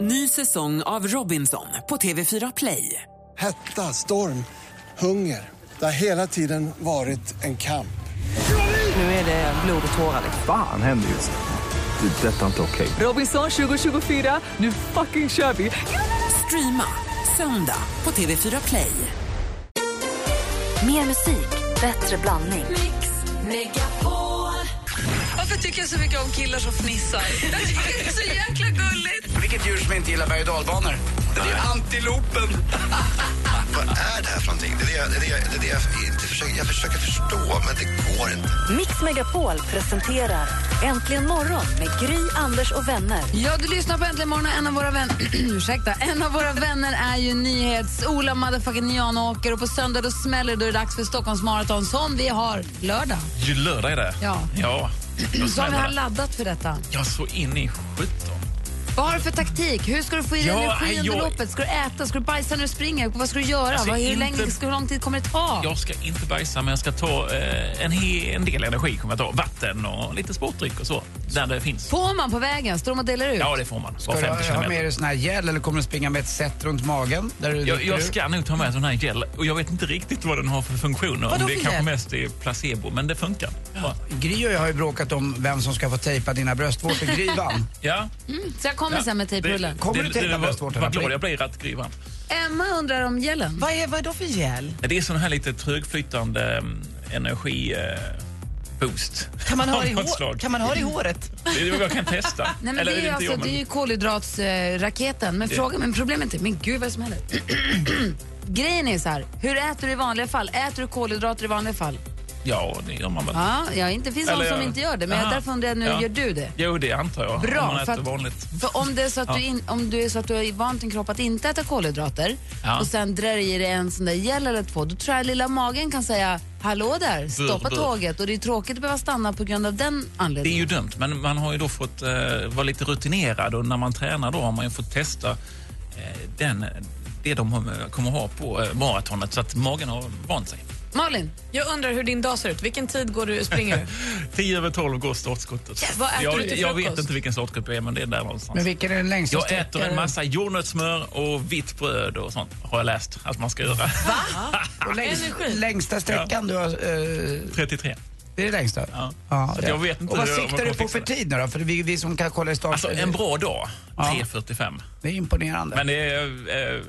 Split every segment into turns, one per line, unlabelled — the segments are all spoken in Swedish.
Ny säsong av Robinson på TV4 Play.
Hetta, storm, hunger. Det har hela tiden varit en kamp.
Nu är det blod och tårar. liksom.
Fan händer just nu. Det. är Detta är inte okej.
Robinson 2024, nu fucking kör vi! Streama söndag på TV4 Play.
Mer musik, bättre blandning.
Varför tycker jag så mycket om killar som fnissar? Jag tycker det är så jäkla gulligt.
Vilket djur som inte gillar berg och dalbanor? Det är antilopen.
Vad är det här för någonting? Det är det, jag- det, är det, jag- det, är det jag, inte försöker, jag försöker förstå, men det går inte.
Mix Megapol presenterar Äntligen morgon med Gry, Anders och vänner.
Ja, du lyssnar på Äntligen morgon och en av våra vänner... ursäkta. En av våra vänner är ju nyhets-Ola motherfucking Janåker och på söndag då smäller det då är det dags för Stockholmsmaraton som vi har lördag.
Ju lördag är det.
Ja.
Ja, då
Så har vi
smäller
här
det.
laddat för detta.
Jag så in i sjutton.
Vad har du för taktik? Hur ska du få i dig
Ja,
energi
nej,
under
jag-
loppet? Ska du äta? Ska du bajsa när du springer? Vad ska du göra?
Jag ser
Vad, hur,
inte-
länge, ska, hur lång tid kommer det ta?
Jag ska inte bajsa, men jag ska ta eh, en, he, en del energi. Kommer jag ta. Vatten och lite sportdryck och så, där det finns.
Får man på vägen? Står de och delar ut?
Ja, det får man. Var
Ska
50
du ha med
kilometer.
dig sån här gel eller kommer du springa med ett set runt magen? Där du
Jag,
dricker
jag
ur?
ska nog ta med sån här gel och jag vet inte riktigt vad den har för funktioner. Om det kanske mest är placebo, men det funkar. Ja,
Gry och jag har ju bråkat om vem som ska få tejpa dina bröstvårtor. Gry vann.
ja.
Mm. Så jag kommer sen med tejprullen.
Kommer du tejpa bröstvårtorna?
Vad glad jag blir att Gry vann.
Emma undrar om gelen.
Vad är, vad är då för gel?
Det är sån här lite trögflytande mm, energi... Eh, boost.
Kan man ha
Av
det i,
något
hår,
slag. Mm.
kan man ha det i håret?
Det är vad jag kan testa.
Nej, men
Eller
det, är ju
inte
alltså,
jag, men-
det är ju kolhydratsraketen. Men, fråga, men problemet är, men gud vad är det som händer? Grejen är så här, hur äter du i vanliga fall? Äter du kolhydrater i vanliga fall?
Ja, det gör man väl.
Ja, ja inte finns
Eller
någon som
jag-
inte gör det, men
Aha.
därför undrar jag nu,
Ja.
gör du det?
Jo, det antar jag.
Bra,
om man
för
äter
att-
vanligt.
För om det är så att, du, in, om du, är så att du är van din kropp att inte äta kolhydrater
Ja.
och sen drar du i dig en sån där gel eller två, då tror jag lilla magen kan säga hallå där, stoppa
bur.
tåget och det är tråkigt att behöva stanna på grund av den
Det är
anledningen.
ju dumt, men man har ju då fått eh, vara lite rutinerad och när man tränar då har man ju fått testa eh, den, det de har- kommer ha på eh, maratonet så att magen har vant sig.
Malin,
Jag undrar hur din dag ser ut. Vilken tid går du springer du?
10 över 12 går startskottet.
Yes! Vad äter
jag,
du till
jag
frukost? Mm.
vet inte vilken startgrupp jag är, men det är där någonstans.
Men vilken är den längsta
jag
sträckan?
äter en massa jordnötssmör och vitt bröd och sånt, har jag läst att man ska göra.
Och längst,
Energi.
längsta sträckan du har... Eh,
33.
det är det längsta?
Ja. Så jag vet inte
Och vad
hur- om jag
siktar du
kommer
på
fixa
för
det.
tid nu då? För vi, vi som kan kolla i start...
Alltså en bra dag, 3.45.
Det är imponerande.
Men det är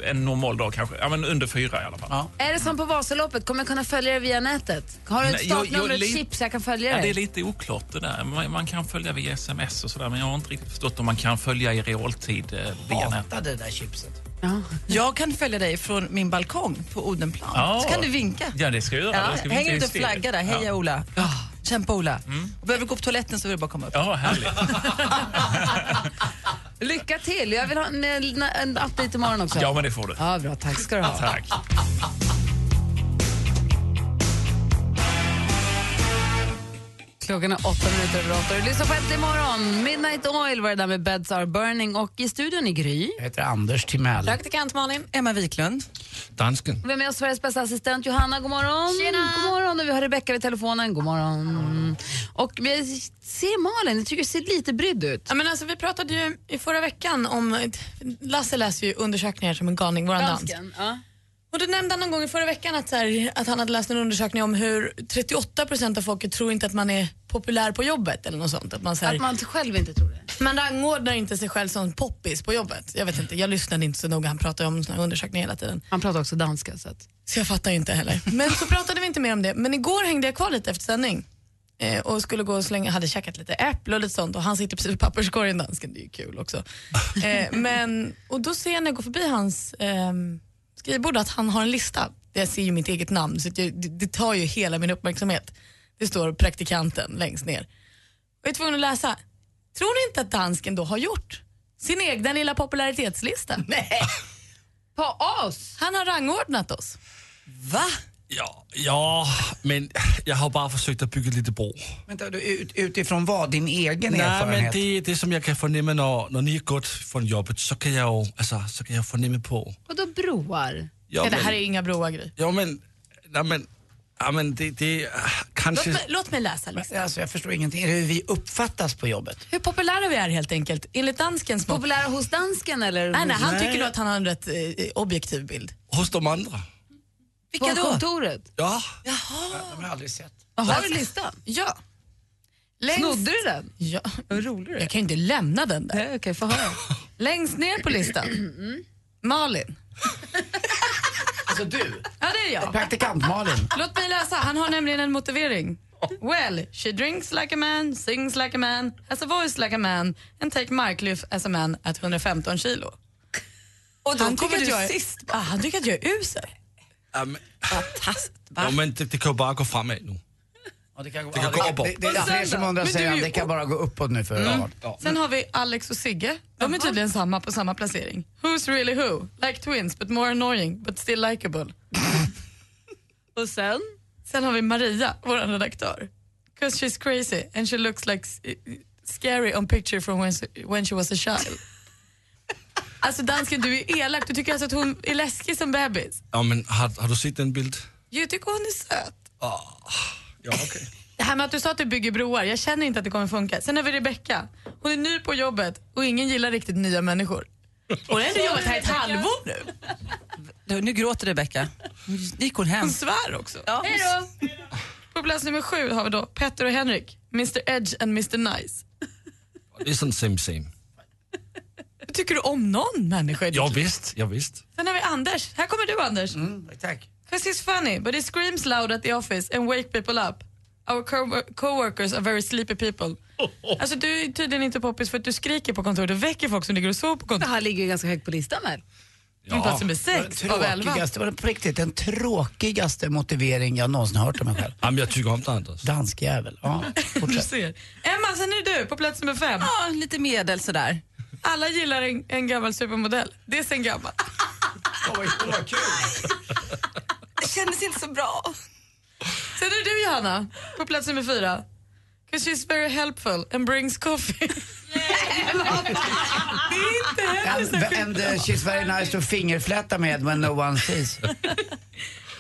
eh, en normal dag kanske. Ja, men under fyra i alla fall.
Ja.
Är det som på Vasaloppet? Kommer jag kunna följa det via nätet? Har du ett
Nej, jag-
startnummer och
jag
ett
li-
chip så jag kan följa
Ja,
det?
det är lite oklart det där. Man, man kan följa via sms och sådär men jag har inte riktigt förstått om man kan följa i realtid eh, via nätet.
Hatade det där chipset.
Jag kan följa dig från min balkong på Odenplan.
Ja.
Så kan du vinka.
Ja, det ska jag göra.
Ja,
Jag ska vinka
hänger ut en
hysteriskt.
flagga där. Heja
Ja.
Ola. Kämpa Ola.
Mm.
Och behöver du gå på toaletten så vill du bara komma upp.
Ja, härligt.
Lycka till! Jag vill ha en, en, en update imorgon också.
Ja, men det får du.
Ja, bra. Tack ska du ha.
Tack.
Klockan är åtta minuter över åtta. Du lyssnar på Äntligen imorgon. Midnight Oil var det där med Beds Are Burning. Och i studion i Gry.
Jag heter Anders Timell.
Praktikant Malin. Emma Wiklund.
Dansken.
Vi har med oss Sveriges bästa assistent Johanna. God morgon. Tjena. God morgon. Och vi har Rebecka vid telefonen. God morgon. Och vi ser Malin. Jag tycker du ser lite brydd ut.
Ja, men alltså, vi pratade ju i förra veckan om... Lasse läser ju undersökningar som en galning, våran dans.
Dansken. Ja.
Och då nämnde han någon gång i förra veckan att, så här, att han hade läst en undersökning om hur 38% av folket tror inte att man är populär på jobbet eller något sånt. Att man, så här,
Att man själv inte tror det.
man rangordnar inte sig själv som poppis på jobbet. Jag vet inte, jag lyssnade inte så noga. Han pratade om såna här undersökningar hela tiden.
Han pratar också danska. Så att.
Så jag fattar ju inte heller. Men så pratade vi inte mer om det. Men igår hängde jag kvar lite efter sändning. Eh, och skulle gå och slänga, hade käkat lite äpple och lite sånt och han sitter precis i papperskorgen dansken, det är ju kul också. Eh, men, och då ser jag när jag går förbi hans ehm, skrivbord att han har en lista. Jag ser ju mitt eget namn så att jag, det, det tar ju hela min uppmärksamhet. Det står praktikanten längst ner. Och jag är tvungen att läsa. Tror ni inte att dansken då har gjort sin egna lilla popularitetslista? Nej.
På oss!
Han har rangordnat oss.
Va?
Ja, ja, men jag har bara försökt att bygga lite bro.
Vänta, du, ut, utifrån vad? Din egen
Nej,
erfarenhet?
men det är det som jag kan förnimma när, när ni är gått från jobbet så kan jag, ju- alltså, så kan jag förnimma på.
Och då broar?
Ja,
det här
men,
är inga broa grejer.
ja, men, nej, men Ja, men det, det äh,
Låt
kanske...
mig, låt mig läsa
liksom.
listan.
Alltså, jag förstår ingenting. Är det hur vi uppfattas på jobbet?
Hur populära vi är helt enkelt, enligt danskens mått.
Populära hos dansken eller?
Nej, nej, han
Nej.
tycker nog att han har en rätt eh, objektiv bild.
Hos de andra.
På
Vilka då?
kontoret?
Ja.
De har jag aldrig sett.
Vad har du listan?
Ja. Längst...
Snodde du den?
Ja.
Vad rolig du är.
Jag kan ju inte lämna den där.
Nej, Okej, få höra.
Längst ner på listan, Malin.
Alltså du,
Ja, det är jag.
praktikant Malin.
Låt mig läsa. Han har nämligen en motivering. Well, she drinks like a man, sings like a man, has a voice like a man and take Markluf as a man at 115 kilo.
Och då
Han tycker
kommer
att
du
jag är-
sist.
Ah, han tycker att jag är usel.
Ja, ah, men,
Fantast, va?
ja, men det, det kan ju bara gå framåt nu.
Ja, det kan gå,
Det kan gå uppåt.
Det, det är fler som undrar
Men du Mm. är
säger
ju-
det kan bara gå uppåt nu för Arnold. Ja.
Sen har vi Alex och Sigge. De är tydligen samma på samma placering. Who's really who? Like twins but more annoying but still likable.
Och sen?
Sen har vi Maria, vår redaktör. 'Cause she's crazy and she looks like s- scary on picture from when, s- when she was a child. Alltså dansken, du är elak. Du tycker alltså att hon är läskig som bebis.
Ja, men har, har du sett den bild?
Jag tycker hon är söt.
Ja, okej.
Det här med att du sa att du bygger broar, jag känner inte att det kommer funka. Sen har vi Rebecca. Hon är ny på jobbet och ingen gillar riktigt nya människor. Hon har ändå jobbat här ett halvår nu.
Du, nu gråter Rebecka. Nu gick hon hem.
Hon svär också.
Ja.
Hej då! På plats nummer sju har vi då Petter och Henrik, Mr Edge and Mr Nice.
Det är sån same same.
Tycker du om någon människa i ditt
Ja,
liv?
visst, ja, visst.
Sen har vi Anders. Här kommer du, Anders.
Mm, Tack.
Cause he's funny, but he screams loud at the office and wake people up. Our co- co-workers are very sleepy people. Alltså du är tydligen inte poppis för att du skriker på kontoret och väcker folk som ligger och sover på
Det
kontoret.
här ligger ju ganska högt på listan väl?
Min plats
Ja.
nummer sex av elva.
Tråkigaste, var det på riktigt den tråkigaste motivering jag någonsin har hört om mig själv.
Ja, men jag tycker om det, Anders.
Dansk jävel. Ja,
Du
fortsätt.
ser. Emma, sen är det du på plats nummer fem.
Ja, lite medel sådär.
Alla gillar en, en gammal supermodell. Det är sen gammalt.
Det kändes inte så bra.
Sen är det du Johanna, på plats nummer fyra. 'Cause she's very helpful and brings coffee. det är inte henne
And,
som
and uh, she's very nice to fingerfläta med when no one sees.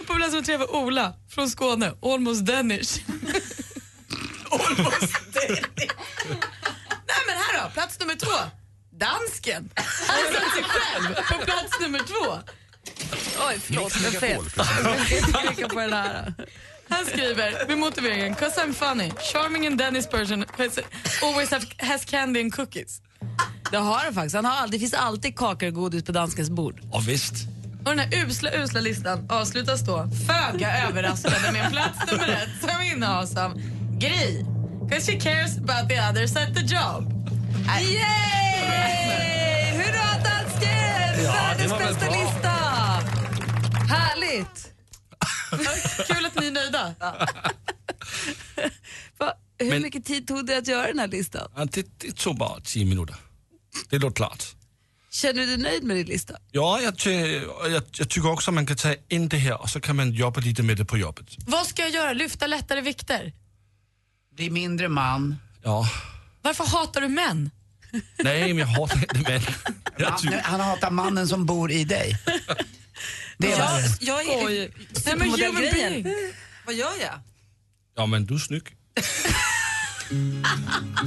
På plats nummer tre var Ola från Skåne, almost Danish. almost Danish. Nej men här då, plats nummer två. Dansken. Han satt sig själv på plats nummer två.
Oj, förlåt. Jag fel.
Klicka på den här. Han skriver med motiveringen “Cause I'm funny, charming and Danish person has, always have, has candy and cookies”.
Det har han faktiskt. Han har all, det finns alltid kakor och godis på danskens bord.
Ja, visst.
Och den här usla, usla listan avslutas då föga överraskande med en plats nummer ett som innehas av Gry. Cause she cares about the others at the job.
Yay! Hurra dansken!
Ja, det
Världens
var väl
bästa
bra.
lista! Härligt!
Kul att ni är nöjda.
Va, hur
Men-
mycket tid tog det att göra den här listan?
Ja, det, det tog bara 10 minuter. Det låter klart.
Känner du dig nöjd med din lista?
Ja, jag, ty- och jag, jag tycker också att man kan ta in det här och så kan man jobba lite med det på jobbet.
Vad ska jag göra? Lyfta lättare vikter?
Bli mindre man.
Ja.
Varför hatar du män?
Nej, men jag hatar inte män. Jag
Han,
tycker...
han hatar mannen som bor i dig. Det är
Jag,
värre.
jag är
Nej, men human
supermodellgrejen. Vad gör jag?
Ja, men du är snygg.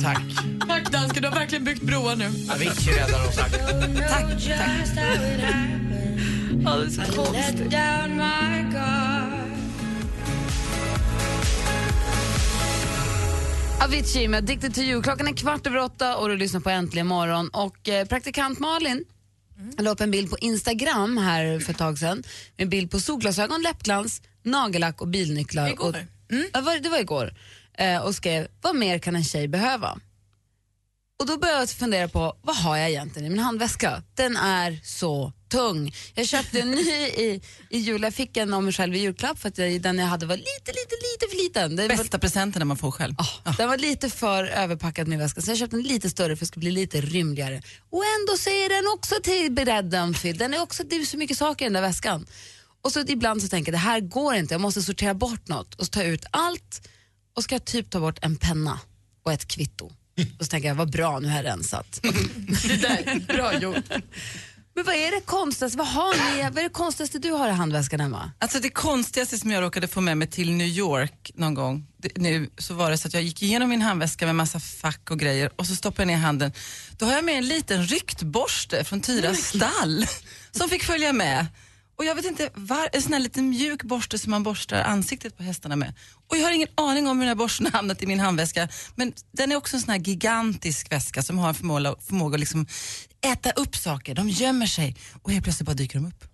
Tack.
Tack dansken, du har verkligen byggt broar nu.
Avicii räddar oss. Tack.
Ja, det är så konstigt. Avicii med Addicted to you. Klockan är kvart över åtta och du lyssnar på Äntligen morgon. Och eh, praktikant Malin la upp en bild på Instagram här för ett tag sedan. En bild på solglasögon, läppglans, nagellack och bilnycklar.
Igår.
Och, mm. ja, var- det var igår. Eh, och skrev, vad mer kan en tjej behöva? Och då började jag fundera på, vad har jag egentligen i min handväska? Den är så tung. Jag köpte en ny i, i jul, jag fick en av mig själv i julklapp för att jag, den jag hade var lite, lite, lite för liten. Den var,
Bästa presenten när man får själv.
Ah, den var lite för överpackad min väska så jag köpte en lite större för att det skulle bli lite rymligare. Och ändå så är den också till bredden fylld. Den är också, det är så mycket saker i den där väskan. Och så ibland så tänker jag, det här går inte, jag måste sortera bort något och så tar jag ut allt och ska typ ta bort en penna och ett kvitto. Och så tänker jag, vad bra, nu har jag rensat.
Det där, bra gjort.
Men vad är det konstigaste, vad har ni, vad är det konstigaste du har i handväskan Emma?
Alltså det konstigaste som jag råkade få med mig till New York någon gång det, nu så var det så att jag gick igenom min handväska med massa fack och grejer och så stoppade jag ner handen. Då har jag med en liten ryktborste från Tyras stall som fick följa med. Och jag vet inte, var, en sån här liten mjuk borste som man borstar ansiktet på hästarna med. Och jag har ingen aning om hur den här borsten har hamnat i min handväska. Men den är också en sån här gigantisk väska som har en förmåga, förmåga att liksom äta upp saker. De gömmer sig och helt plötsligt bara dyker de upp.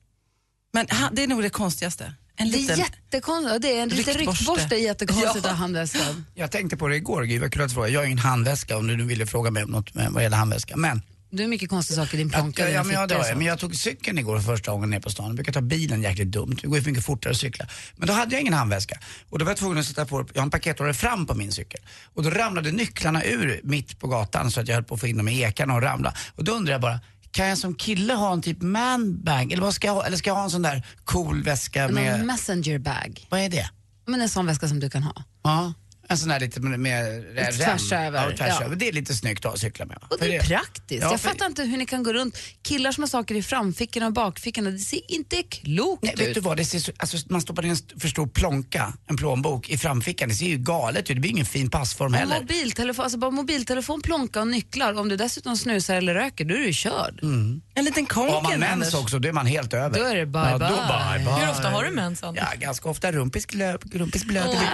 Men ha, det är nog det konstigaste. En
Det är
liten...
jättekonstigt, Ja, det är en liten
Ryktborste.
ryktborste är jättekonstigt
Ja.
att ha i handväskan.
Jag tänkte på det igår, Gud vad kul att du frågar. Jag har ingen handväska om du nu ville fråga mig om något med, vad gäller handväska. Men,
Du har mycket konstiga saker i din plånka.
ja,
dina
ja, men, jag,
fickor och så.
men jag tog cykeln igår för första gången ner på stan. Jag brukar ta bilen jäkligt dumt. Det går ju för mycket fortare att cykla. Men då hade jag ingen handväska. Och då var jag tvungen att sätta på, jag har en pakethållare fram på min cykel. Och då ramlade nycklarna ur mitt på gatan så att jag höll på att få in dem i ekarna och ramla. Och då undrar jag bara, kan jag som kille ha en typ manbag? Eller, vad ska jag ha? Eller ska jag ha en sån där cool väska
Någon
med,
messenger bag.
vad är det?
Men en sån väska som du kan ha.
Ja, en sån där lite med, med rem.
tvärs över,
Ja, tvärs
ja.
över. Det är lite snyggt att cykla med.
Och
För
det är praktiskt.
Ja,
jag
för-
fattar inte hur ni kan gå runt. Killar som har saker i framfickorna och bakfickorna, det ser inte klokt
Nej,
ut.
vet du vad, det ser så, alltså, man stoppar ner en st- för stor plånka, en plånbok, i framfickan. Det ser ju galet ut. Det blir ingen fin passform
Och
heller.
Mobiltelefon, alltså bara mobiltelefon, plånka och nycklar. Om du dessutom snusar eller röker, då är du körd.
En liten
Och har Mm. man
konken,
mens
Anders.
också, då är man helt över.
Då är det bye
ja,
bye.
Då bye, bye.
Hur ofta har du mens, Anna?
Ja, ganska ofta. Rumpis glöd, rumpis glöd.
Vad är det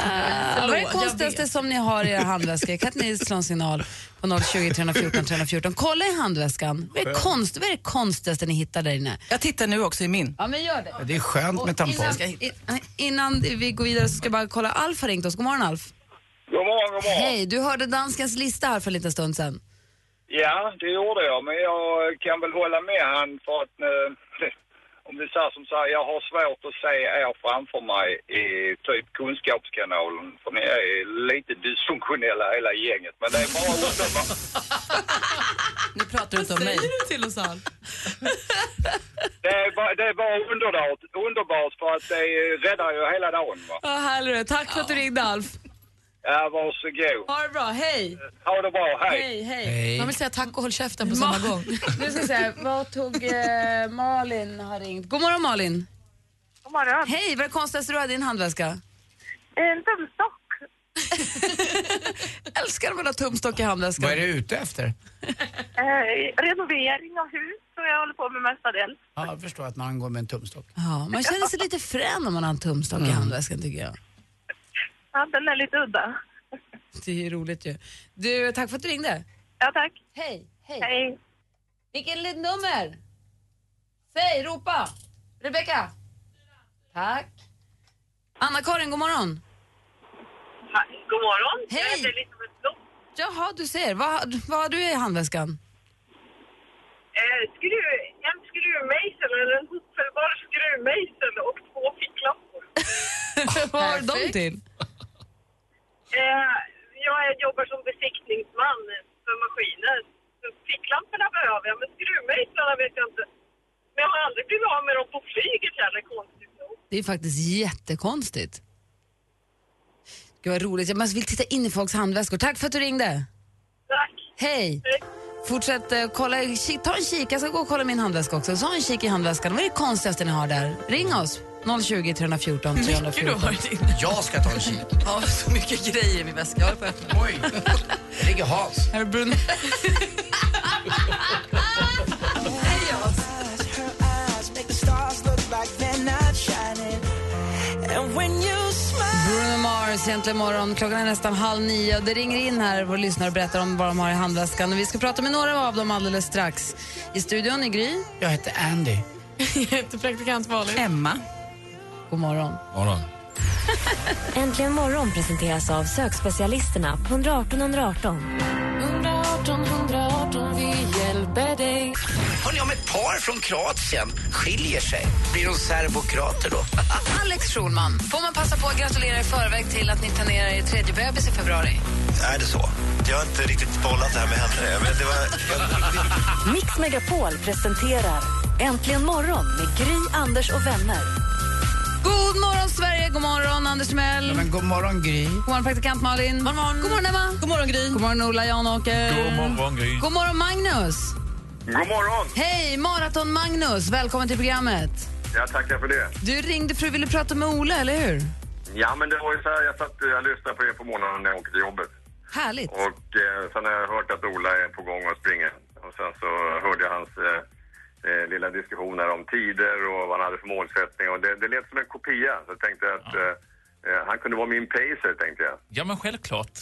Förlåt, jag
konstigaste
vet.
som ni har i era handväskor? Kan inte ni slå en signal på 020 314 314? Kolla i handväskan. Vad är, det konst, vad är det konstigaste ni hittar där inne?
Jag tittar nu också i min.
Ja, men gör det.
Det är skönt med tampong.
Innan, i- innan vi går vidare så ska jag bara kolla. Alf har ringt oss. God morgon, Alf.
God morgon, god morgon.
Hej, du hörde danskens lista här för en liten stund sedan.
Ja, det gjorde jag, men jag kan väl hålla med han för att eh, om vi säger som så här, jag har svårt att se er framför mig i typ Kunskapskanalen, för ni är lite dysfunktionella hela gänget, men det är bara underbart.
Nu pratar du inte om mig.
Säger du till oss allt?
Det är bara, det är bara underbart, underbart för att det räddar ju hela dagen. Va?
Vad härligt. Tack för att du ringde, Alf.
Ja, varsågod.
Ha det bra. Hej.
Ha det bra, hej.
hej.
Man vill säga tack och håll käften på samma gång.
Nu ska vi se, vad tog eh, Malin har ringt. God morgon Malin.
God morgon.
Hej, vad är det konstigaste du hade i din handväska?
En tumstock.
Älskar när man har tumstock i handväskan.
Vad är du ute efter?
Eh, renovering av hus som jag håller på med mestadels.
Ja, jag förstår att man går med en tumstock.
Ja, man känner sig lite frän om man har en tumstock
Mm.
i handväskan tycker jag.
Ja, den är lite udda.
Det är ju roligt ju. Du, tack för att du ringde.
Ja, tack.
Hej, hej.
Hej.
Vilket litet nummer? Säg, ropa. Rebecka. Tack. Anna-Karin, god morgon.
Ha, god morgon.
Hej.
Jag heter Elisabeth Blom.
Jaha, du ser. Vad, vad har du i handväskan?
Eh, skruv, en skruvmejsel eller en hopfällbar skruvmejsel och två ficklampor.
vad har du dem till?
Eh, jag är- jobbar som besiktningsman för maskiner. Så Ficklamporna behöver jag, men skruvmejslarna vet jag inte. Men jag har aldrig blivit av med dem på flyget heller, konstigt nog.
Det är faktiskt jättekonstigt. Gud vad roligt. Jag bara vill titta in i folks handväskor. Tack för att du ringde.
Tack.
Hej. Fortsätt eh, kolla, ki- ta en kik. Jag ska gå och kolla min handväska också. Så ha en kik i handväskan. Vad är det konstigaste ni har där? Ring oss. 020 314 314.
Jag ska ta en kik.
Ja, så mycket grejer i min väska. Jag håller på att öppna.
Oj, det ligger Hans.
Här är Bruno. Bruno Mars egentligen imorgon. Klockan är nästan halv nio. Det ringer in här vår lyssnare och berättar om vad de har i handväskan. Och vi ska prata med några av dem alldeles strax. I studion i Gry.
Jag heter Andy.
Jag heter praktikant Malin.
Emma.
God morgon.
Morgon.
Äntligen morgon presenteras av sökspecialisterna på 118 118.
Hörni, om ett par från Kroatien skiljer sig, blir de serbokrater då?
Alex Schulman, får man passa på att gratulera i förväg till att ni planerar er tredje bebis i februari?
Är det så? Jag har inte riktigt bollat det här med henne. Men det var,
Mix Megapol presenterar Äntligen morgon med Gry, Anders och vänner.
God morgon, Sverige! God morgon, Anders Mell! God
Men god morgon, Gry.
morgon, praktikant Malin! Mm. God morgon, God morgon Emma!
God morgon, Gry.
God morgon, Ola Janåker!
God morgon, Gry.
God morgon, Magnus!
God morgon!
Hej, Maraton-Magnus. Välkommen till programmet.
Jag tackar för det.
Du ringde för att du ville prata med Ola, eller hur?
Ja, men det var ju så här, jag, satt, jag lyssnade på er på morgonen när jag åkte till jobbet.
Härligt.
Och eh, sen har jag hört att Ola är på gång att springa. Och sen så hörde jag hans eh, eh, lilla diskussion här om tider och vad han hade för målsättning. Och det, det lät som en kopia. Så jag tänkte att eh, eh, han kunde vara min pacer, tänkte jag.
Ja, men självklart.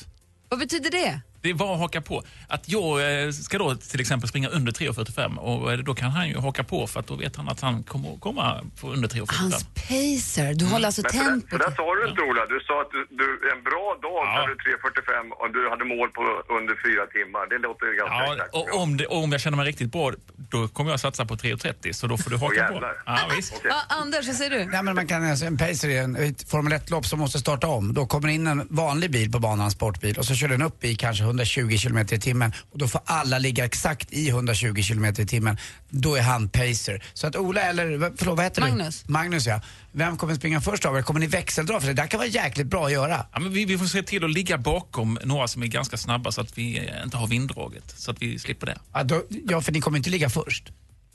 Vad betyder det?
Det är bara att haka på. Att jag eh, ska då till exempel springa under 3.45 och eh, då kan han ju haka på för att då vet han att han kommer att komma på under 3.45.
Hans pacer. Du håller alltså
Men så där,
tempo.
så där sa du inte, Ola. Du sa att du, du en bra dag så hade du 3.45 och du hade mål på under fyra timmar. Det låter ju ganska
Ja,
exakt.
och om, det, och om jag känner mig riktigt bra, då kommer jag satsa på 3.30 så då får du haka på. Ja, visst.
Ja, Anders, vad säger du?
Nej, men man kan, alltså, en pacer är en, ett Formel 1-lopp som måste starta om. Då kommer in en vanlig bil på banan, en sportbil, och så kör den upp i kanske 120 km i timmen. Och då får alla ligga exakt i 120 km i timmen. Då är han pacer. Så att Ola, eller vad- förlåt, vad heter
Magnus.
du? Magnus. ja. Vem kommer springa först av er? Kommer ni växeldra? För det där kan vara jäkligt bra att göra.
Ja, men vi, vi får se till att ligga bakom några som är ganska snabba så att vi eh, inte har vinddraget, så att vi slipper det.
Ja, då, ja för ni kommer inte ligga först.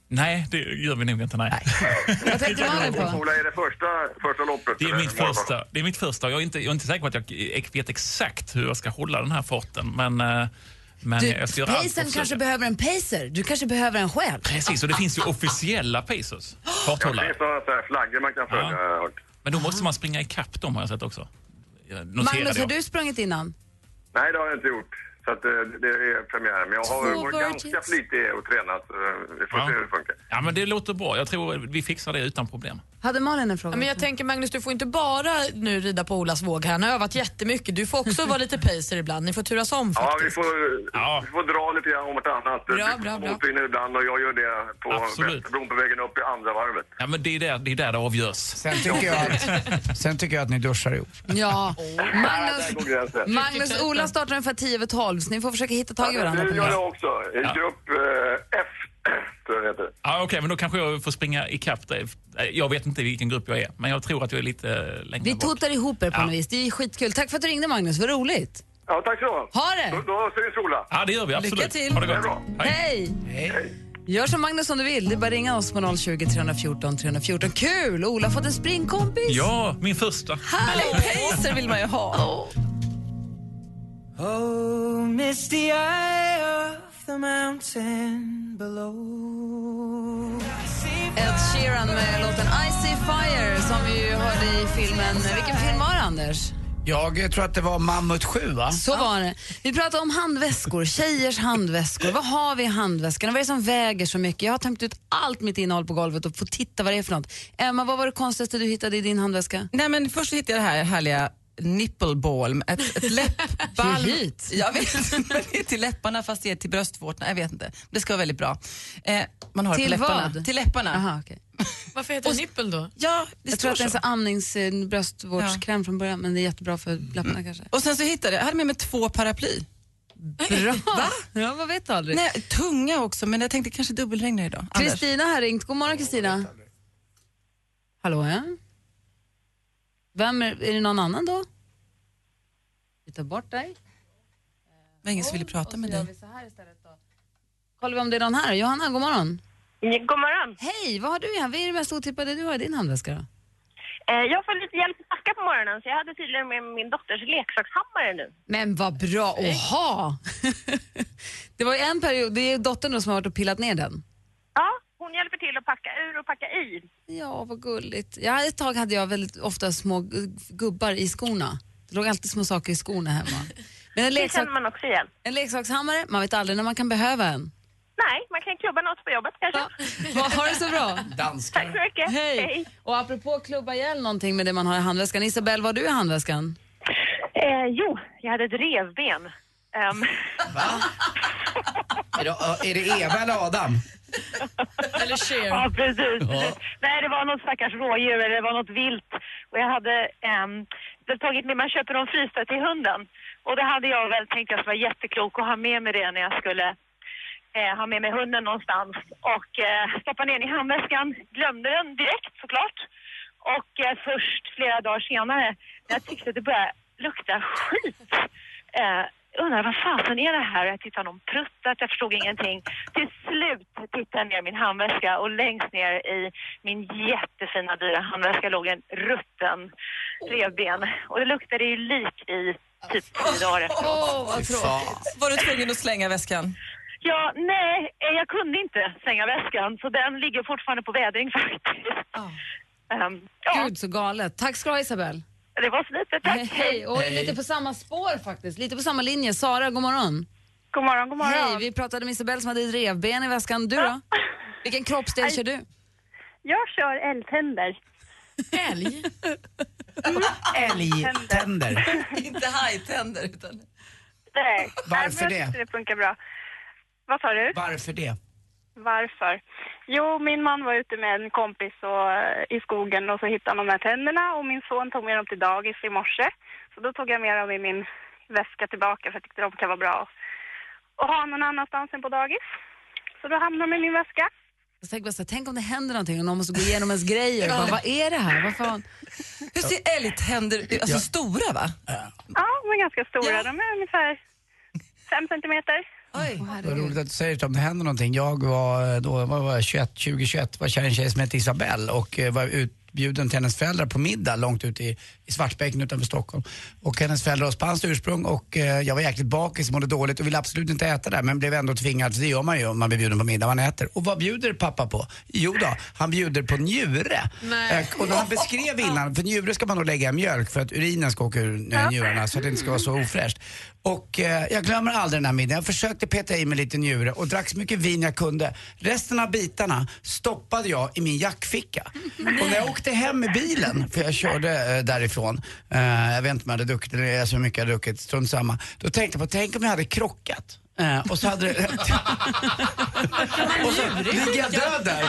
Nej, det gör vi nog inte. Nej.
Vad tänkte Malin på?
Ola, är det första, första loppet?
Det är
eller?
mitt första. Det är mitt första. Jag är, inte, jag är inte säker på att jag eh, vet exakt hur jag ska hålla den här farten, men, eh, men
Du,
jag ska göra allt för att
pacern kanske
försöka.
behöver en pacer. Du kanske behöver en själv.
Precis, och det finns ju officiella pacers.
Ja,
Farthållare.
det finns några så här flaggor man kan följa. har jag hört.
Men då måste man springa ikapp dem har jag sett också. Jag noterade
Magnus, har
jag.
du sprungit innan?
Nej, det har jag inte gjort. Så att, eh, det är premiär. Men jag har
Två
varit
virgins.
ganska flitig och tränat. så, eh, Vi får
Ja.
se hur det funkar.
Ja, men det låter bra. Jag tror vi fixar det utan problem.
Hade Malin en fråga?
men jag tänker Magnus, du får inte bara nu rida på Olas våg. här. Han har övat jättemycket. Du får också vara lite pacer ibland. Ni får turas om.
Ja, vi
faktiskt.
får, vi får dra lite grann om vartannat.
Bra,
du
bra, bra.
motvinner ibland och jag gör det på
Absolut.
Västerbron på vägen upp i andra varvet.
Ja, men det är där det, är där det avgörs. Sen
tycker jag Sen tycker jag att ni duschar ihop.
Ja. Magnus,
Där går gränsen.
Magnus Ola startar ungefär 10 över 12 så ni får försöka hitta tag i varandra.
Du
på
gör
något
det
sätt.
också. I Grupp eh, F, tror jag det heter.
Ja, Okej, men då kanske jag får springa ikapp dig. Nej, Jag vet inte vilken grupp jag är, men jag tror att jag är lite längre
Vi
bort.
totar ihop er på
Ja.
något vis. Det är ju skitkul. Tack för att du ringde Magnus, vad roligt.
Ja, tack så mycket.
Ha det!
Då, då syns Ola.
Ja, det gör vi absolut.
Lycka till.
Ha det gott.
Hej!
Hej.
Gör som Magnus om du vill. Det är bara att ringa oss på 020 314 314. Kul! Ola har fått en springkompis.
Ja, min första.
Härligt!
Pacer vill man ju ha.
Oh, misty eye of the mountain below.
Ed Sheeran med låten I see fire som vi ju hörde i filmen. Vilken film var det, Anders?
Jag eh, tror att det var Mammut 7, va?
Så var det. Vi pratade om handväskor, tjejers handväskor. Vad har vi i handväskorna? Vad är det som väger så mycket? Jag har tömt ut allt mitt innehåll på golvet och får titta vad det är för något. Emma, vad var det konstigaste du hittade i din handväska?
Nej, men först hittade jag det här härliga nipple balm, ett, ett läppbalm.
Hur hit?
Jag vet inte, men det är till läpparna fast det är till bröstvårtorna. Jag vet inte. Det ska vara väldigt bra. Eh, man har det
Till
på läpparna.
vad?
Till läpparna.
Aha, okay.
Varför heter det nippel då?
Ja, det
Jag
står
tror att det är en
så.
sån amnings eh, bröstvårdskräm från början men det är jättebra för läpparna kanske.
Och sen så hittade jag, jag hade med mig två paraply.
Bra! Ja, vad vet du aldrig.
Nej, tunga också, men jag tänkte kanske dubbelregnar idag. Anders.
Kristina har ringt. God morgon Kristina. Hallå ja. Vem är, är det någon annan då? Vi tar bort dig.
Det var ingen som ville prata med dig.
Kollar vi om det är någon här. Johanna, god morgon.
God morgon.
Hej, vad har du i hand- Vad är det mest otippade du har i din handväska då?
Eh, Jag får lite hjälp att packa på morgonen så jag hade tydligen med min dotters leksakshammare nu.
Men vad bra att ha! det var ju en period, det är dottern då som har varit och pillat ner den.
Ja, hon hjälper till att packa ur och packa i.
Ja, vad gulligt. Ja, ett tag hade jag väldigt ofta små gu- gubbar i skorna. Det låg alltid små saker i skorna hemma. Men en,
Det
leksak,
känner man också igen.
en leksakshammare, man vet aldrig när man kan behöva en.
Nej, man kan klubba något på jobbet kanske.
Va, Ha det så bra!
Danskar.
Tack så mycket.
Hej! Och apropå klubba ihjäl någonting med det man har i handväskan. Isabelle, vad har du i handväskan?
Eh, jo, jag hade ett revben. Ehm,
Är det, är det Eva eller Adam?
Eller Cher.
ja, precis.
Ja.
Nej, det var något stackars rådjur eller det var något vilt. Och jag hade ehm, det hade tagit med, man köper dem frysta till hunden. Och det hade jag väl tänkt att jag var jätteklok att ha med mig det när jag skulle eh, ha med mig hunden någonstans. Och eh, stoppa ner den i handväskan, glömde den direkt såklart. Och eh, först flera dagar senare när jag tyckte att det började lukta skit eh, undrar vad fasen är det här? Jag tittade någon pruttat, jag förstod ingenting. Till slut tittade jag ner i min handväska och längst ner i min jättefina dyra handväska låg en rutten revben. Och det luktade ju lik i typ tio dagar efteråt.
Åh, vad tråkigt. Var du tvungen att slänga väskan?
Ja, nej, eh, jag kunde inte stänga väskan så den ligger fortfarande på vädring faktiskt. Ehm,
Gud så galet. Tack ska du ha Isabel.
Det var så lite,
tack. Hej, hej. Och
Hej.
lite på samma spår faktiskt, lite på samma linje. Sara, god morgon.
God morgon, god morgon.
Hej, vi pratade med Isabel som hade ett revben i väskan. Du då? Vilken kroppsdel kör du?
Jag kör älgtänder.
Älg?
Älgtänder.
Inte hajtänder utan...
Nej.
Varför
Nej, men jag
det?
tyckte Det funkar bra. Vad sa du?
Varför det?
Varför? Jo, min man var ute med en kompis och, eh, i skogen och så hittade han de här tänderna och min son tog med dem till dagis i morse. Så då tog jag med dem i min väska tillbaka för jag tyckte de kan vara bra att ha någon annanstans än på dagis. Så då hamnade de i min väska.
Jag tänker bara så här, tänk om det händer någonting och någon måste gå igenom ens grejer.
Ja.
Bara, vad är det här? Vad fan?
Hur ser älgtänder ut? Alltså
Ja.
stora va?
Ja, de är ganska stora. De är ungefär fem centimeter.
Vad roligt att du säger det, om det händer någonting. Jag var eh, då, vad var jag, 21, 2021, var kär i en tjej som hette Isabelle och eh, var utbjuden till hennes föräldrar på middag långt ute i, i Svartbäcken utanför Stockholm. Och hennes föräldrar har spanskt ursprung och eh, jag var jäkligt bakis, mådde dåligt och ville absolut inte äta där men blev ändå tvingad, för det gör man ju om man blir bjuden på middag, man äter. Och vad bjuder pappa på? Jo då, han bjuder på njure.
Nej.
Eh, Och när han beskrev innan, för njure ska man då lägga i mjölk för att urinen ska åka ur eh, njurarna så att det inte ska vara så ofräscht. Och eh, jag glömmer aldrig den här middagen. Jag försökte peta i mig lite njure och drack så mycket vin jag kunde. Resten av bitarna stoppade jag i min jackficka. Och när jag åkte hem i bilen, för jag körde eh, därifrån, eh, jag vet inte om jag hade druckit eller så mycket jag hade druckit, strunt samma. Då tänkte jag på, tänk om jag hade krockat. Eh, och så hade det... och så ligger jag död där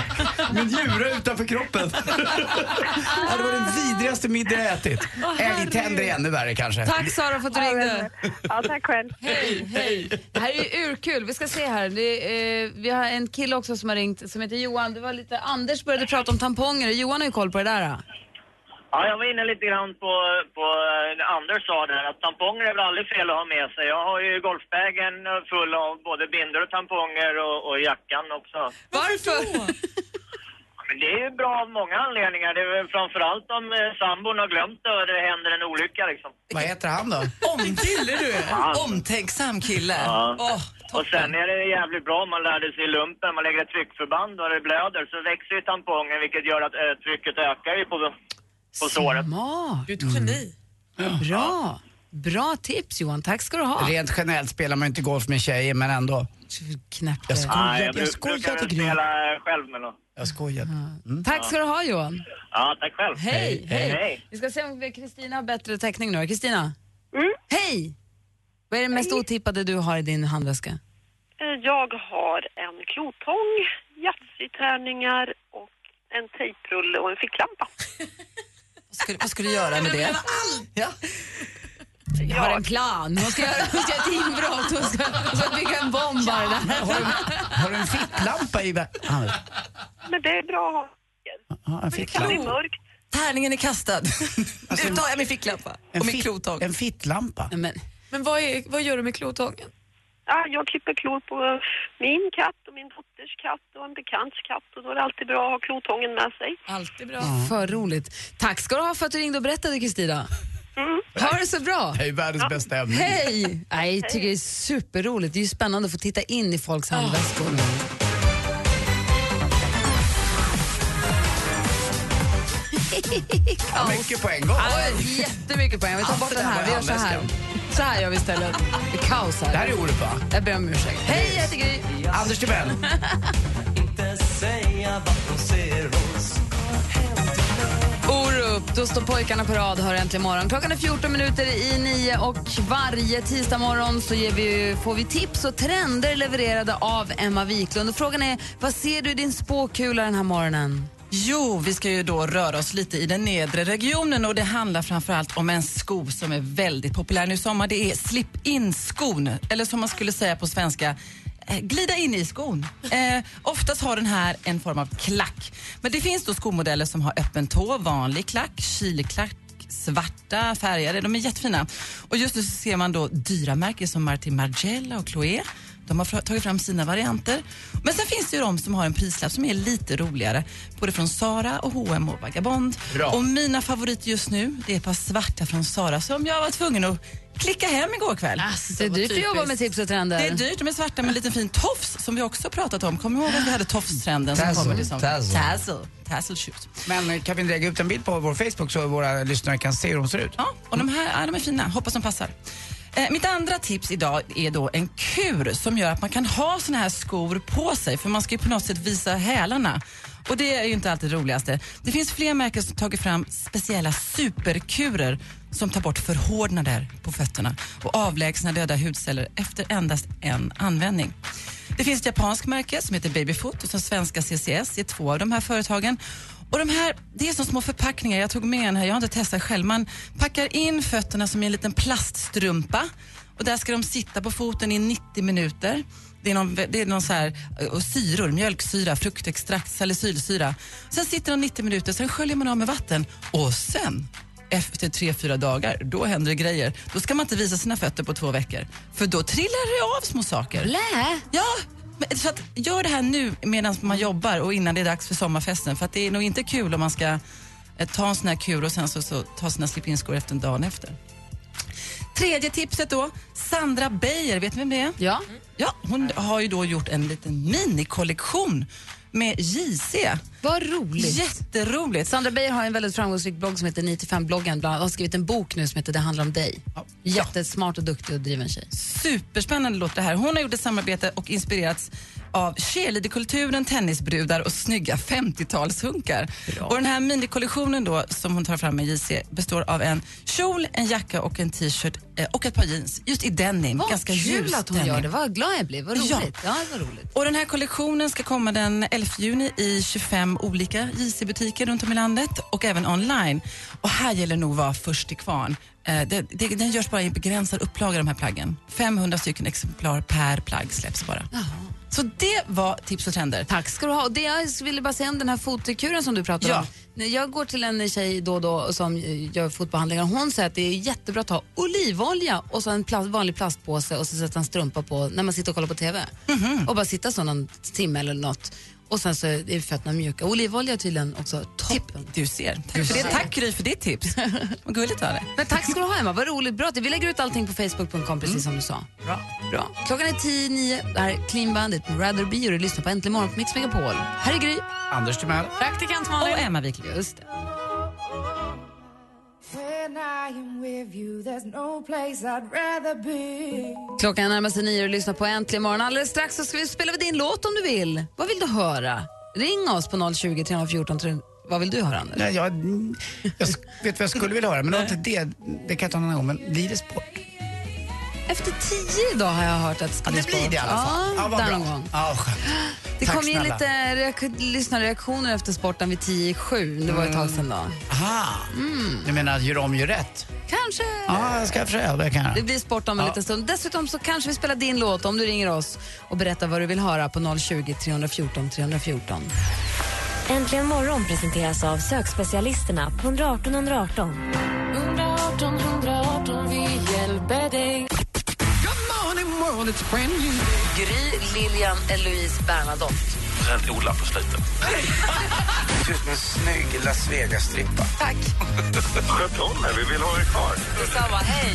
med njure utanför kroppen. Ja, det var den vidrigaste middag jag ätit. Äh,
Åh, herregud.
Älgtänder är ännu värre kanske.
Tack Sara för att du ringde.
Ja, tack själv.
Hej, hej. Det här är ju urkul. Vi ska se här. Det, eh, vi har en kille också som har ringt som heter Johan. Det var lite, Anders började prata om tamponger och Johan har ju koll på det där. Då.
Ja, jag var inne lite grann på, på det Anders sa där att tamponger är väl aldrig fel att ha med sig. Jag har ju golfbagen full av både binder och tamponger och, och jackan också.
Varför?
Ja, Men det är ju bra av många anledningar. Det är väl framförallt om eh, sambon har glömt det och det händer en olycka liksom.
Vad heter han då?
Omkille du är. Omtänksam kille.
Ja.
Åh,
och sen är det jävligt bra om man lärde sig i lumpen. Man lägger ett tryckförband och det blöder så växer ju tampongen vilket gör att eh, trycket ökar ju på, på såret.
Smart.
Du är ett geni.
Bra. Bra tips Johan. Tack ska du ha.
Rent generellt spelar man ju inte golf med tjejer, men ändå.
Knäppt.
Jag
Nej,
skojar,
jag
jag
bru-
skojar
brukar
till
spela eh, själv med någon.
Jag skojar. Mm.
Tack ska du ha Johan.
Ja, tack själv.
Hej, hej. Vi ska se om Kristina har bättre täckning nu. Kristina?
Mm.
Hej! Vad är det mest otippade du har i din handväska?
Eh, Jag har en klotång, yatzy-tärningar och en tejprulle och en ficklampa.
Skulle, vad ska du göra med det?
Jag har en plan. Hon ska göra hon ska göra ett inbrott. Hon ska, hon ska bygga en bomb bara där.
Har du en ficklampa i vä- Ah,
Men det är bra.
Ja, en ficklampa.
mörkt.
Tärningen är kastad. nu tar jag min ficklampa och min klotång.
En fittlampa?
Men,
Men vad, är, vad gör du med klotången?
Ja, jag klipper klor på min katt och min dotters katt och en bekants katt och då är det alltid bra att ha klotången med sig.
Alltid bra.
För roligt. Tack ska du ha för att du ringde och berättade Kristina.
Mm.
Ha det så bra.
Det är ju världens bästa ämne.
Hej! Nej, jag tycker det är superroligt. Det är ju spännande att få titta in i
Ah.
folks handväskor.
Ja, mycket på en gång.
Oj, jättemycket poäng. Vi tar
Allt
bort
det
den
där
här.
var
Vi gör så här. Så här gör vi istället. Det är kaos här.
Det här är Orup, va?
Jag ber om ursäkt. Hej, jag heter Gry.
Anders Timell.
Inte säga vart de ser oss.
Orup, då står pojkarna på rad hör äntligen morgon. Klockan är 14 minuter i nio och varje tisdag morgon så ger vi, ju- får vi tips och trender levererade av Emma Wiklund. Och frågan är, vad ser du i din spåkula den här morgonen?
Jo, vi ska ju då röra oss lite i den nedre regionen och det handlar framförallt om en sko som är väldigt populär nu i sommar. Det är slip-in-skon, eller som man skulle säga på svenska, eh, glida in i skon. Eh, oftast har den här en form av klack. Men det finns då skomodeller som har öppen tå, vanlig klack, kilklack, svarta, färgade. De är jättefina. Och just nu så ser man då dyra märken som Martin Margiela och Chloé. De har fra- tagit fram sina varianter. Men sen finns det ju de som har en prislapp som är lite roligare. Både från Sara och H&M och Vagabond.
Bra.
Och mina favoriter just nu, det är ett par svarta från Sara som jag var tvungen att klicka hem igår kväll.
det är dyrt att jobba med tips och trender.
Det är dyrt, de är svarta med en liten fin tofs som vi också har pratat om. Kommer du ihåg att vi hade tofstrenden som
Tassel,
kommer till sommaren?
tassel.
Tassel. Tassel shoes.
Men eh, kan vi lägga ut en bild på vår Facebook så våra lyssnare kan se hur de ser ut?
Ja, och de här ja, de är fina. Hoppas de passar. Eh, mitt andra tips idag är då en kur som gör att man kan ha såna här skor på sig för man ska ju på något sätt visa hälarna. Och det är ju inte alltid det roligaste. Det finns fler märken som tagit fram speciella superkurer som tar bort förhårdnader på fötterna och avlägsnar döda hudceller efter endast en användning. Det finns ett japanskt märke som heter Babyfoot och som svenska CCS är två av de här företagen. Och de här, det är som små förpackningar, jag tog med en här, jag har inte testat själv. Man packar in fötterna som i en liten plaststrumpa och där ska de sitta på foten i 90 minuter. Det är någon, det är någon så här, eh, och syror, mjölksyra, fruktextrakt, salicylsyra. Sen sitter de 90 minuter, sen sköljer man av med vatten och sen efter tre, fyra dagar, då händer det grejer. Då ska man inte visa sina fötter på två veckor. För då trillar det av små saker.
Lä.
Ja, men, så att, gör det här nu medan man jobbar och innan det är dags för sommarfesten. För att det är nog inte kul om man ska eh, ta en sån här kul och sen så, så ta sina slip-in-skor efter en dag efter. Tredje tipset då, Sandra Beijer, vet ni vem det är?
Ja.
ja hon har ju då gjort en liten minikollektion med JC.
Vad roligt.
Jätteroligt.
Sandra Beijer har en väldigt framgångsrik blogg som heter 95-bloggen. Bland annat har skrivit en bok nu som heter Det handlar om dig. Jättesmart och duktig och driven tjej.
Superspännande låter det här. Hon har gjort ett samarbete och inspirerats av cheerleaderkulturen, tennisbrudar och snygga 50-talshunkar. Och den här minikollektionen då som hon tar fram med JC består av en kjol, en jacka och en t-shirt eh, och ett par jeans. Just i denim.
Vad
ganska
kul
ljus
att hon
denim.
gör det. Vad glad jag blev. Vad roligt.
Ja.
Ja. Ja, vad roligt.
Och den här kollektionen ska komma den 11 juni i 25 olika JC-butiker runt om i landet och även online. Och här gäller det nog att vara först i kvarn. Eh, det, det, den görs bara i en begränsad upplaga de här plaggen. 500 stycken exemplar per plagg släpps bara. Så det var tips och trender.
Tack ska du ha. Och det jag ville bara säga om den här fotkuren som du pratade
Ja.
om. När Jag går till en tjej då och då som eh, gör fotbehandlingar och hon säger att det är jättebra att ha olivolja och så en plast, vanlig plastpåse och så sätta en strumpa på när man sitter och kollar på TV.
Mhm.
Och bara sitta så någon timme eller något. Och sen så är fötterna mjuka. Olivolja är tydligen också toppen.
Du ser. Tack för det. Tack Gry för ditt tips. Vad gulligt var det.
Men tack ska du ha Emma, vad roligt. Bra. att Vi lägger ut allting på facebook.com
Mm.
precis som du sa.
Bra.
Bra. Klockan är tio, nio. Det här är Clean Bandit med Rather Be och du lyssnar på Äntligen Morgon på Mix Megapol. Här är Gry.
Anders Timell.
Praktikant
Malin. Och Emma Wiklund.
Just det.
When I am with you, there's no place I'd rather be.
Klockan närmar sig nio och du lyssnar på Äntligen morgon. Alldeles strax så ska vi spela din låt om du vill. Vad vill du höra? Ring oss på 020 314 300. Vad vill du höra, Anders?
Nej, jag, mm, jag sk- vet vad jag skulle vilja höra, men det, var inte det, det kan jag ta någon annan gång. Men blir det sport?
Efter tio idag har jag hört att
Ja, det blir det i alla fall.
Ja,
Ja, vad
där någon
bra.
gång.
Ja, skönt.
Det
Tack
kom ju in
snälla.
lite reak- lyssnarreaktioner efter sporten vid tio i sju. Det var ett tag sedan då.
Aha,
Mm.
du menar gör om, gör rätt?
Kanske.
Ja, jag ska försöka. Det kan jag.
Det blir sport om en
Ja.
liten stund. Dessutom så kanske vi spelar din låt om du ringer oss och berättar vad du vill höra på 020 314 314.
Äntligen morgon presenteras av sökspecialisterna på 118 118.
118 118, vi hjälper dig.
Gry, Lilian, Eloise, Bernadotte.
Fränt Ola på slutet.
Det ser ut som en snygg Las Vegas-strippa.
Tack.
Sköt om er, vi vill ha er kvar.
Detsamma, hej!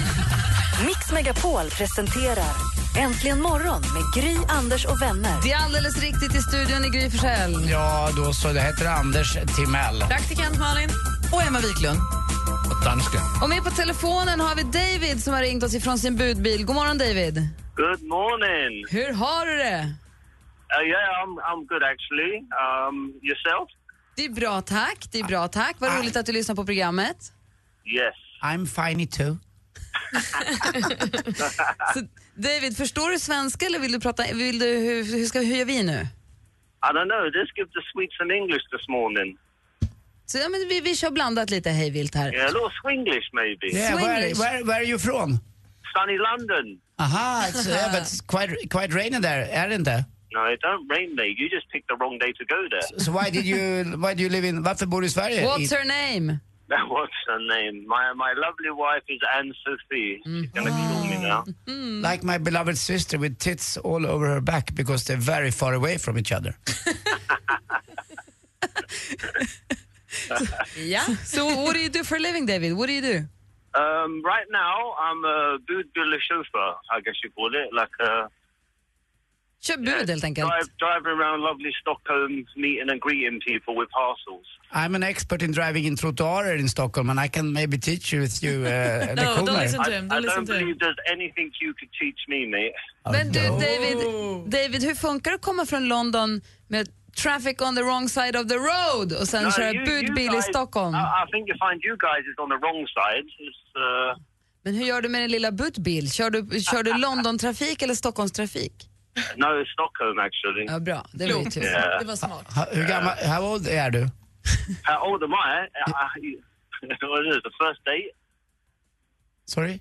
Mix Megapol presenterar Äntligen morgon med Gry, Anders och vänner.
Det är alldeles riktigt i studion i Gry Forssell.
Ja, då så. Det heter Anders Timell.
Praktikant Malin.
Och Emma Wiklund.
Danska.
Och med på telefonen har vi David som har ringt oss ifrån sin budbil. God morgon David.
Good morning.
Hur har du det?
Uh, yeah, I'm I'm good actually. Um, yourself?
Det är bra tack, det är bra tack. Vad roligt att du lyssnar på programmet.
Yes.
I'm fine too.
David, förstår du svenska eller vill du prata, vill du, hur, hur, ska, hur gör vi nu?
I don't know. Just give the sweets in English this morning.
Så ja, men vi, vi kör blandat lite hejvilt här.
Yeah, a little Swinglish maybe.
Yeah, where, where, where are you from?
Sunny London.
Aha, it's, yeah, but it's quite, quite raining there, är det inte?
No, it don't rain there. You just picked the wrong day to go there.
So why did you, why do you live in, varför bor du i Sverige?
What's
I-
her name?
That was her name. My my lovely wife is Anne Sophie. She's gonna kill me now.
Mm.
Like my beloved sister with tits all over her back because they're very far away from each other.
Yeah. so what do you do for a living David? What do you do?
Um, right now, I'm a boot dealer chauffeur, I guess you call it, like a
Kör bud helt enkelt.
drive, driving around lovely Stockholm, meeting and greeting people with parcels.
I'm an expert in driving in trottoirer in Stockholm and I can maybe teach you with you uh,
No,
lektioner.
I, I don't believe there's anything you could teach me, mate.
Men du David, David, hur funkar det att komma från London med traffic on the wrong side of the road och sen
No,
köra
you-
budbil
you
i
guys-
Stockholm?
I, I think you find you guys is on the wrong side. It's, uh,
Men hur gör du med din lilla budbil? Kör du, kör du London-trafik eller Stockholmstrafik?
no, it's Stockholm actually.
Ja, bra. Det var ju tur.
Yeah.
smart.
Ha- Hur gammal, how old är du?
How old am I? Uh, I, I what is it, the first date?
Sorry?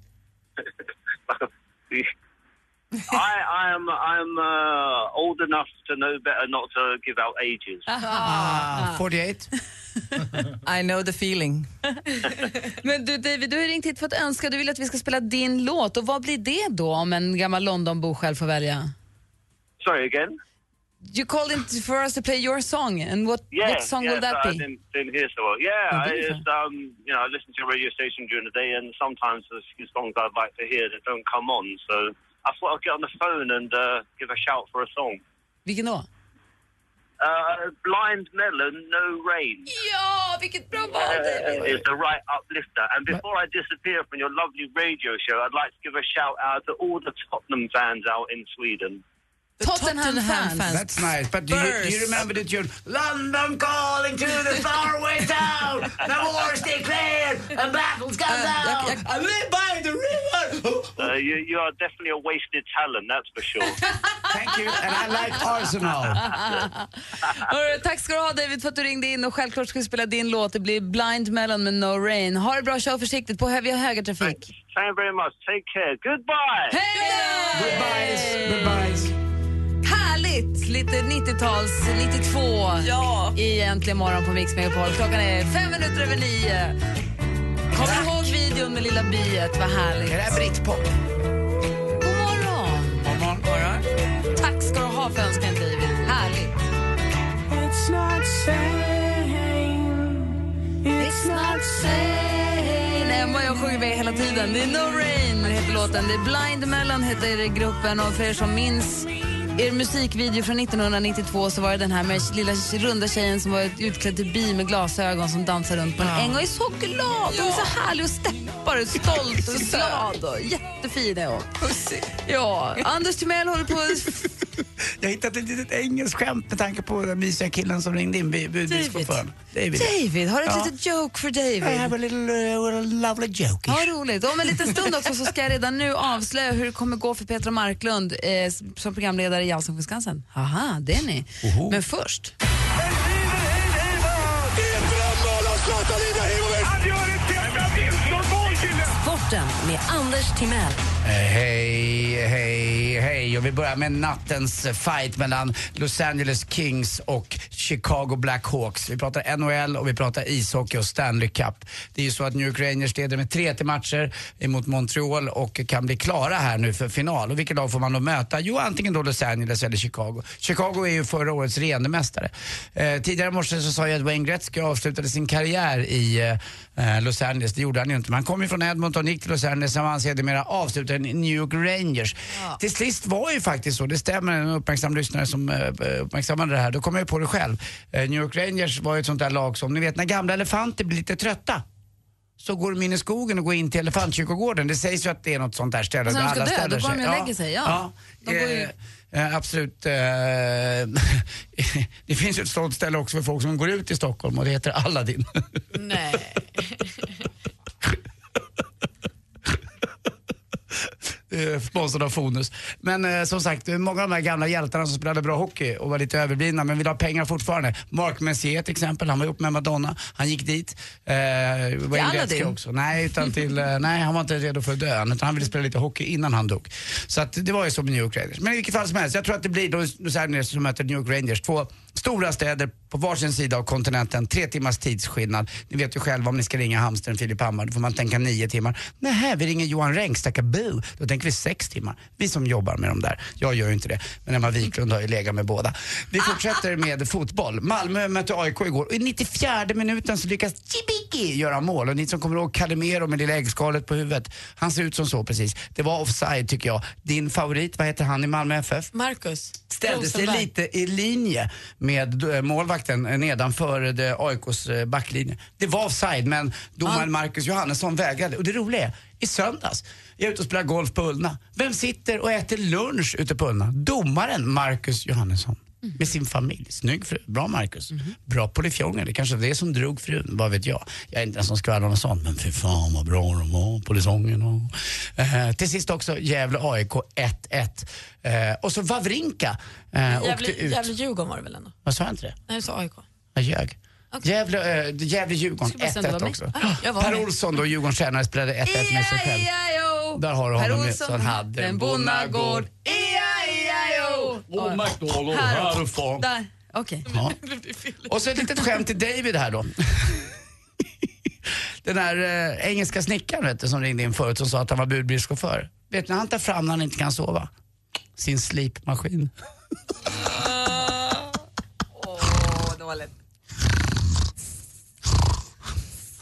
I, I am I'm uh, old enough to know better not to give out ages.
Ah,
48.
I know the feeling.
Men du David, du har ju ringt hit för att önska, du vill att vi ska spela din låt och vad blir det då om en gammal Londonbo själv får välja?
Sorry again.
You called in for us to play your song and what,
Yeah,
what song
yeah,
will that
so I
be?
didn't, didn't hear so well. Yeah,
Oh,
I,
beautiful.
it's, um, you know, I listen to a radio station during the day, and sometimes there's a few songs I'd like to hear that don't come on. So I thought I'd get on the phone and uh, give a shout for a song.
Vilken då?
Uh, Blind Melon, No Rain.
Ja, vilket bra val
Uh,
David!
is the right uplifter. And before I disappear from your lovely radio show, I'd like to give a shout out to all the Tottenham fans out in Sweden.
Tottenham-fans.
That's nice, but do you, do you remember the tune? London calling to the faraway town, the wars declared and battles
Uh.
gone down. I live by the river.
Uh, you, you are definitely a wasted talent, that's for sure.
Thank you, and I like Arsenal.
Hörru, tack ska du ha David för att du ringde in och självklart ska vi spela din låt. Det blir Blind Melon med No Rain. Ha det bra, kör försiktigt på hö- vi har högertrafik.
Thank you very much. Take care. Goodbye.
Goodbyes. Härligt! Lite 90-tals, 92 ja. i Äntligen morgon på Mix Megapol. Klockan är fem minuter över nio. Kommer du ihåg videon med lilla biet? Vad härligt.
Är det här brittpop?
God morgon!
God morgon.
Tack ska du ha för önskan, David. Härligt.
It's not same.
It's not sane Emma och jag sjunger med hela tiden. Det är No Rain heter låten. Det är Blind Melon heter gruppen. Och för er som minns er musikvideo från 1992 så var det den här med lilla runda tjejen som var utklädd till bi med glasögon som dansar runt på en äng och är så glad och är så härlig och steppar och stolt och glad och jättefin är hon. Ja, Anders Timell håller på
Jag har hittat ett litet engelskt skämt med tanke på den mysiga killen som ringde in, bu- budbilschauffören. David.
David, har du ett
Ja.
litet joke för David?
I have a little, uh, lovely joke.
Ja, roligt. Om en liten stund också så ska jag redan nu avslöja hur det kommer gå för Petra Marklund eh, s- som programledare i Allsång på Skansen. Haha, det är ni. Men först...
Sporten med Anders Timell.
Eh, Hej, hej, hej. Och vi börjar med nattens fight mellan Los Angeles Kings och Chicago Blackhawks. Vi pratar NHL och vi pratar ishockey och Stanley Cup. Det är ju så att New York Rangers leder med 3-1 matcher emot Montreal och kan bli klara här nu för final. Och vilket lag får man då möta? Jo, antingen då Los Angeles eller Chicago. Chicago är ju förra årets regerande mästare. Eh, tidigare i morse så sa jag att Wayne Gretzky avslutade sin karriär i eh, Los Angeles. Det gjorde han ju inte. Men han kom ju från Edmonton, gick till Los Angeles som han sedermera avslutade i New York Rangers. Till sist var ju faktiskt så, det stämmer, en uppmärksam lyssnare som eh, uppmärksammade det här, då kom jag ju på det själv. Eh, New York Rangers var ju ett sånt där lag som, ni vet när gamla elefanter blir lite trötta så går de in i skogen och går in till elefantkyrkogården. Det sägs ju att det är något sånt där ställe
Och sen Alltså,
där
de ska
alla
dö,
ställer
då går de
sig.
och lägger sig. Ja. De går ju...
Eh, absolut. Eh, det finns ju ett sånt ställe också för folk som går ut i Stockholm och det heter Aladdin.
Nej.
Eh, Sponsrad av Fonus. Men eh, som sagt, eh, många av de här gamla hjältarna som spelade bra hockey och var lite överblivna men vill ha pengar fortfarande. Mark Messier till exempel, han var ihop med Madonna, han gick dit. Eh, Wayne Gretzky
Aladdin?
också. Nej, utan till, eh, nej, han var inte redo för döden utan han ville spela lite hockey innan han dog. Så att, det var ju så med New York Rangers. Men i vilket fall som helst, jag tror att det blir då Los Angeles som möter New York Rangers. Två Stora städer på varsin sida av kontinenten, tre timmars tidsskillnad. Ni vet ju själva om ni ska ringa hamstern Filip Hammar, då får man tänka nio timmar. Nej, vi ringer Johan Rengstackabu, då tänker vi sex timmar. Vi som jobbar med dem där. Jag gör ju inte det, men Emma Wiklund har ju legat med båda.
Ah.
Vi fortsätter med fotboll. Malmö mötte AIK igår och i 94 minuten så lyckas Cibiki göra mål. Och ni som kommer ihåg Calimero med lilla äggskalet på huvudet, han ser ut som så precis. Det var offside tycker jag. Din favorit, vad heter han i Malmö FF?
Marcus.
ställde sig
Rosenberg.
lite i linje med eh, målvakten eh, nedanför det- AIKs eh, backlinje. Det var offside men domaren Marcus Johannesson vägrade. Och det roliga är, i söndags, jag är ute och spelar golf på Ullna. Vem sitter och äter lunch ute på Ullna? Domaren Marcus Johannesson. Med sin familj. Snygg fru. Bra Marcus. Bra polifjonger. Det kanske var det som drog frun, vad vet jag. Jag är inte den som skvallrar om sånt, men fy fan vad bra de var, polisongen och... Eh, till sist också Gävle-AIK 1-1. Eh, och så Wawrinka eh, åkte ut.
Gävle-Djurgården var det väl ändå?
Vad sa jag inte det?
Nej, du sa AIK.
Jag ljög. Gävle, äh,
Skulle
Gävle-Djurgården
bara säga att det
1-1
var
också.
mig. Ah, jag var
per
med.
Olsson då, Djurgårdens tränare, spelade 1-1 med sig
E
själv. Där har du
Per
honom ju,
Olsson
som hade en bonnagård.
E E-I-I-O!
Oh, McDonald,
Här.
härifrån.
Där. Okej.
Ja. Och så ett litet skämt till David här då. Den här eh, engelska snickaren vet du, som ringde in förut som sa att han var budbilschaufför. Vet ni han tar fram när han inte kan sova? Sin slipmaskin.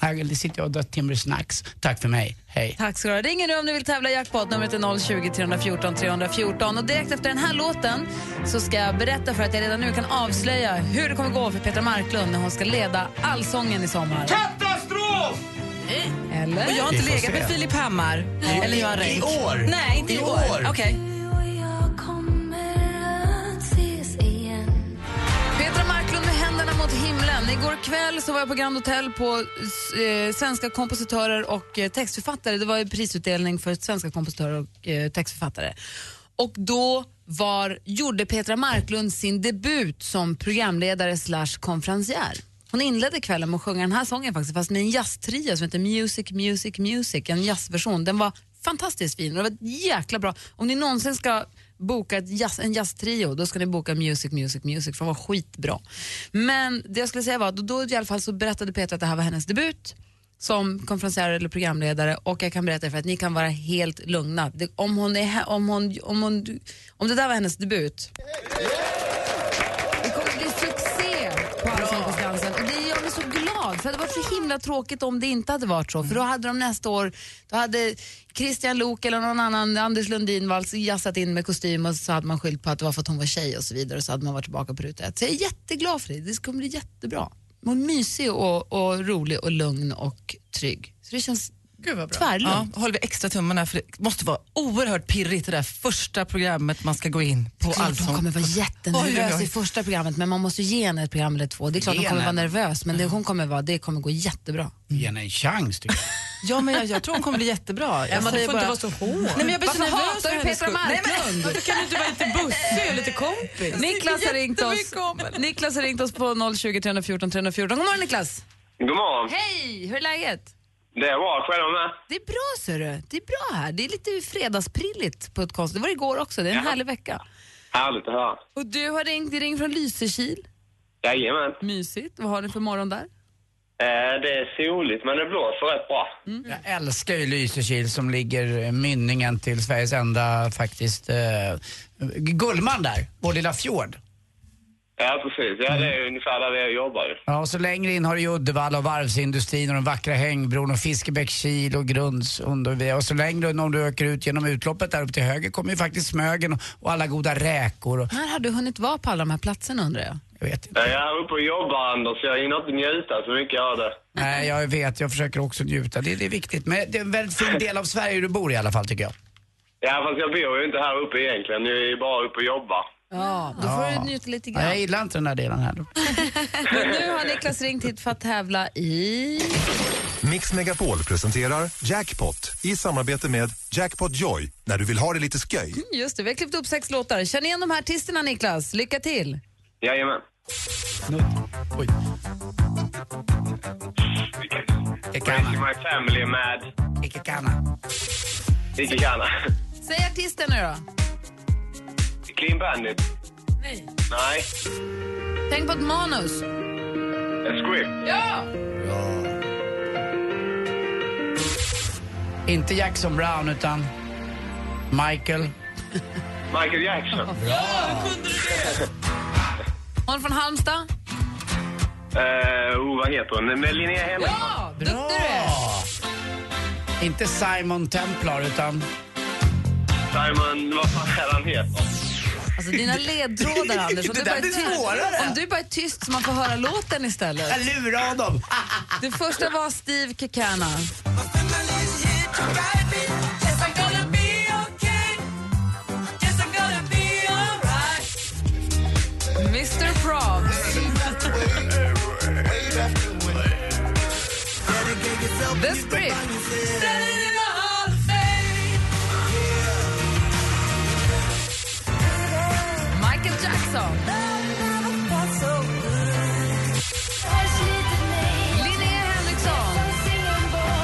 Här sitter jag och drar timmersnacks. Tack för mig. Hej.
Tack ska du ha. Ringer du om du vill tävla i jackpot. Numret är 020 314 314. Och direkt efter den här låten så ska jag berätta för att jag redan nu kan avslöja hur det kommer gå för Petra Marklund när hon ska leda Allsången i sommar.
Katastrof!
Eller?
Och jag har inte
Vi får
legat
se.
med Filip Hammar. Eller Johan
I
Renck.
år.
Nej, inte i,
I
år.
år.
Okej.
Petra Marklund med händerna mot himlen. Igår kväll så var jag på Grand Hotel på eh, svenska kompositörer och eh, textförfattare. Det var ju prisutdelning för svenska kompositörer och eh, textförfattare. Och då var, gjorde Petra Marklund sin debut som programledare slash konferencier. Hon inledde kvällen med att sjunga den här sången faktiskt, fast med en jazztrio som heter Music, Music, Music. En jazzversion. Den var fantastiskt fin och det var jäkla bra. Om ni någonsin ska boka ett jazz, en jazztrio, då ska ni boka Music, Music, Music för den var skitbra. Men det jag skulle säga var att då, då i alla fall så berättade Peter att det här var hennes debut som konferensier eller programledare och jag kan berätta för att ni kan vara helt lugna. Det, om, hon är, hä- om, hon, om, hon, om det där var hennes debut, det kommer bli succé på Allsångskonferensen. Och det gör mig så glad, för det hade varit så himla tråkigt om det inte hade varit så. För då hade de nästa år, då hade Christian Lok eller någon annan, Anders Lundin, var alltså jassat in med kostym och så hade man skyllt på att det var för att hon var tjej och så vidare och så hade man varit tillbaka på ruta ett. Så jag är jätteglad för det, det kommer bli jättebra. Hon är mysig och, och rolig och lugn och trygg. Så det känns
Gud vad
tvärlugnt.
Ja, håller vi extra tummarna för det måste vara oerhört pirrigt det där första programmet man ska gå in på
Klart
Allsång.
hon kommer vara
Oj, oj,
jättenervös
oj.
i första programmet men man måste ge henne ett program eller två. Det är klart
Ge
hon kommer vara
henne.
nervös men det hon kommer vara, det kommer gå jättebra.
Mm. Ge henne en chans tycker jag.
Ja, men jag, jag tror hon kommer bli jättebra. Jag
Emma, du
säger
får inte vara så hård.
Nej, men jag blir så
Varför
nervös för
hatar du
hennes
Petra
skull. Nej, men-
Marklund?
Varför kan du inte vara lite bussig och lite kompis?
Niklas har ringt oss. Niklas har ringt oss på 020 314 314. God morgon Niklas!
God morgon.
Hej! Hur är läget?
Det är bra. Själva med?
Det är bra ser du. Det är bra här. Det är lite fredagsprilligt på ett konstigt. Det var igår också. Det är en härlig vecka.
Härligt att höra.
Och du har ringt, ring från Lysekil.
Jajamän.
Mysigt. Vad har ni för morgon där?
Eh, det är soligt, men det blåser rätt bra.
Mm.
Jag älskar ju Lysekil som ligger eh, mynningen till Sveriges enda faktiskt eh, Gullmarn där, vår lilla fjord.
Ja, precis. Ja, det är ungefär där jag jobbar. ju.
Ja, och så längre in har du ju Uddevalla och varvsindustrin och den vackra Hängbron och Fiskebäckskil och Grundsund och, vi- och så längre in om du åker ut genom utloppet där uppe till höger kommer ju faktiskt Smögen och, och alla goda räkor och
När har du hunnit vara på alla de här platserna undrar jag?
jag vet inte.
Eh, Jag är uppe och jobbar, Anders. Jag hinner inte njuta så mycket av det.
Nej, jag vet, jag försöker också njuta. Det, det är viktigt. Men det är en väldigt fin del av Sverige du bor i i alla fall tycker jag.
Ja, fast jag bor ju inte här uppe egentligen. Jag är bara uppe och jobbar.
Ja, då får
Ja.
du njuta lite
Ja,
grann.
jag gillar inte den här delen här.
Men nu har Niklas ringt hit för att tävla i...
Mix Megapol presenterar Jackpot i samarbete med Jackpot Joy när du vill ha det lite sköj.
Just det, vi har klippt upp sex låtar. Känn igen de här artisterna Niklas. Lycka till!
Jajamän.
Oj.
Raising my family med...
Icke Kana.
Icke Kana.
Säg artisten nu då.
Clean Bandit.
Nej.
Nej.
Tänk på ett manus.
En script.
Ja!
Inte Jackson Brown utan Michael.
Michael Jackson.
Hon från Halmstad.
Eh, oh, vad heter hon? Men Linnea Henriksson.
Ja, duktig du är.
Inte Simon Templar utan...
Simon, vad fan är han heter?
Alltså dina ledtrådar Anders. Om
Det
du,
där
bara är
blir
tyst,
svårare.
om du bara är tyst så man får höra låten istället.
Jag lurar honom.
Det första var Steve Kekana. Mr Proms. The Script. Michael Jackson. Linnea Henriksson.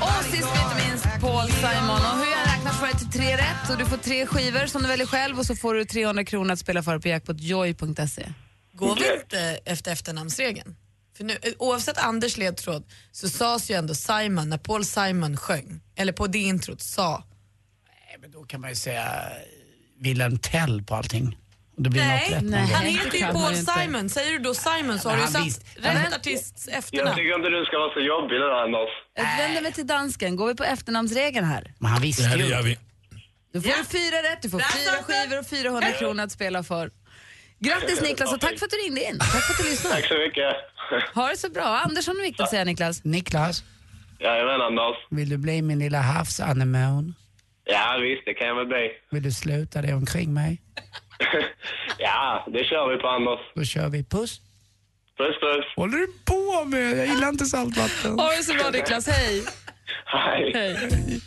Och sist men inte minst Paul Simon. Och hur jag räknar för dig till tre rätt och du får tre skivor som du väljer själv och så får du 300 kronor att spela för på jackpotjoy.se.
Går vi inte efter efternamnsregeln? För nu, eh, oavsett Anders ledtråd så sades ju ändå Simon när Paul Simon sjöng. Eller på det introt sa.
Då kan man ju säga Wilhelm Tell på allting. Och det blir något
Nej,
rätt någon gång.
han heter ju Paul Simon. Säger du då Simon så har du
men han
ju satt
visste-
rätt artists
Jag
efternamn.
tycker inte du ska vara så jobbig nu, Anders.
Jag vänder mig till dansken. Går vi på efternamnsregeln här?
Men han visste
Ja, det gör vi.
Då får du fyra rätt, du får fyra skivor och 400 kronor att spela för. Grattis Niklas och tack för att du ringde in. Tack för att du lyssnade.
Tack så mycket.
Ha det så bra. Andersson och Viktor säger Niklas.
Niklas,
Jajamän, Anders.
vill du bli min lilla havsanemon?
Ja, visst, det kan jag väl bli.
Vill du sluta det omkring mig?
Ja, det kör vi på, Anders.
Då kör vi puss.
Puss, puss.
håller du på med? Jag gillar inte saltvatten.
Ha det så bra Niklas, hej.
Hej.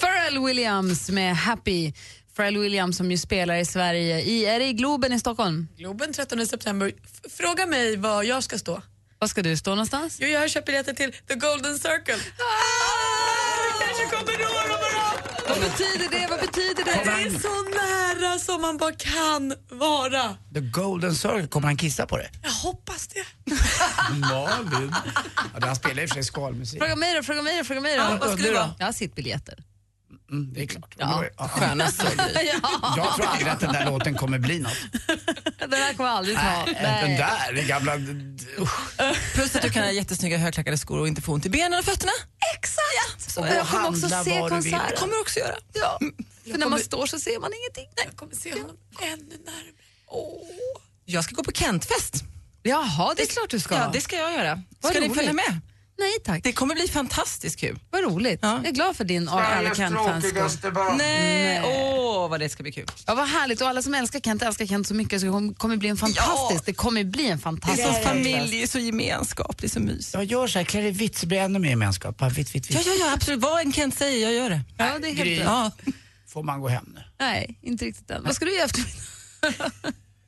Pharrell Williams med Happy. Pharrell Williams som ju spelar i Sverige. I, är det i Globen i Stockholm?
Globen 13 september. F- fråga mig var jag ska stå.
Var ska du stå någonstans?
Jo, jag har köpt biljetter till The Golden Circle. Du kanske kommer nå dem då!
Vad betyder det? Vad betyder det?
Det är så nära som man bara kan vara.
The Golden Circle, kommer han kissa på det?
Jag hoppas det.
Malin. Ja, han spelar i och för sig skalmusik.
Fråga mig då, fråga mig då, fråga mig då.
Ja, vad ska du vara?
Jag har sittbiljetter.
Mm, det är klart. Ja.
Skönaste Ja.
Jag tror aldrig att den där låten kommer bli något.
Den här kommer jag aldrig ta.
Den där, det gamla... Usch.
Plus att du kan ha jättesnygga högklackade skor och inte få ont i benen och fötterna.
Exakt!
Och
Och
gå
jag kommer
och
också
handla
se
vad du vill.
konserten.
Det kommer du också göra.
Ja. För när man
kommer-
står så ser man ingenting. Nej.
Jag kommer se honom ännu närmare.
Jag ska gå på Kentfest.
Jaha, det är klart du ska.
Ja, det ska jag göra.
Vad
Ska ni
roligt.
följa med?
Nej tack.
Det kommer bli fantastiskt kul.
Vad roligt. Jag är glad för din och alla Kent-fans.
barn. Nej, åh vad det ska bli kul.
Ja, vad härligt. Och alla som älskar Kent älskar Kent så mycket så det kom- kommer bli en fantastisk... Det kommer bli en
Det är
fantastisk...
som
kväll.
familj, det är så gemenskap, det är så mys.
Jag gör så här, klär dig vitt så blir jag ännu mer gemenskap. Bara vitt, vitt, vitt.
Ja, ja, ja, absolut. Vad en Kent säger, jag gör det.
Ja, det är helt
Gry.
rätt.
Ja. Får man gå hem nu?
Nej, inte riktigt än. Vad ska du göra efter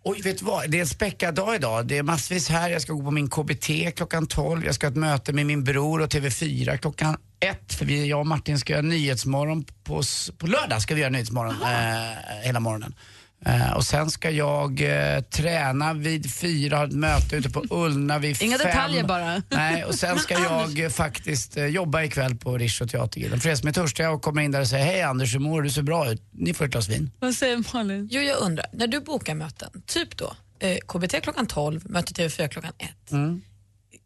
Oj, vet du vad? Det är en späckad dag idag. Det är massvis här. Jag ska gå på min KBT klockan 12. Jag ska ha ett möte med min bror och TV4 klockan 1. För vi, jag och Martin ska göra Nyhetsmorgon på, s- på lördag. Ska vi göra Nyhetsmorgon eh, hela morgonen. Eh, och sen ska jag eh, träna vid fyra, ha ett möte ute på Ullna vid
Inga
fem.
detaljer bara.
Nej, och sen ska jag eh, faktiskt eh, jobba ikväll på Riche och Teatergillen. För er som är törstiga och kommer in där och säger hej Anders, hur mår du? Du ser bra ut. Ni får ett glas vin.
Vad säger Malin?
Jo, jag undrar, när du bokar möten, typ då, eh, KBT klockan 12, möte TV4 klockan 1.
Mm.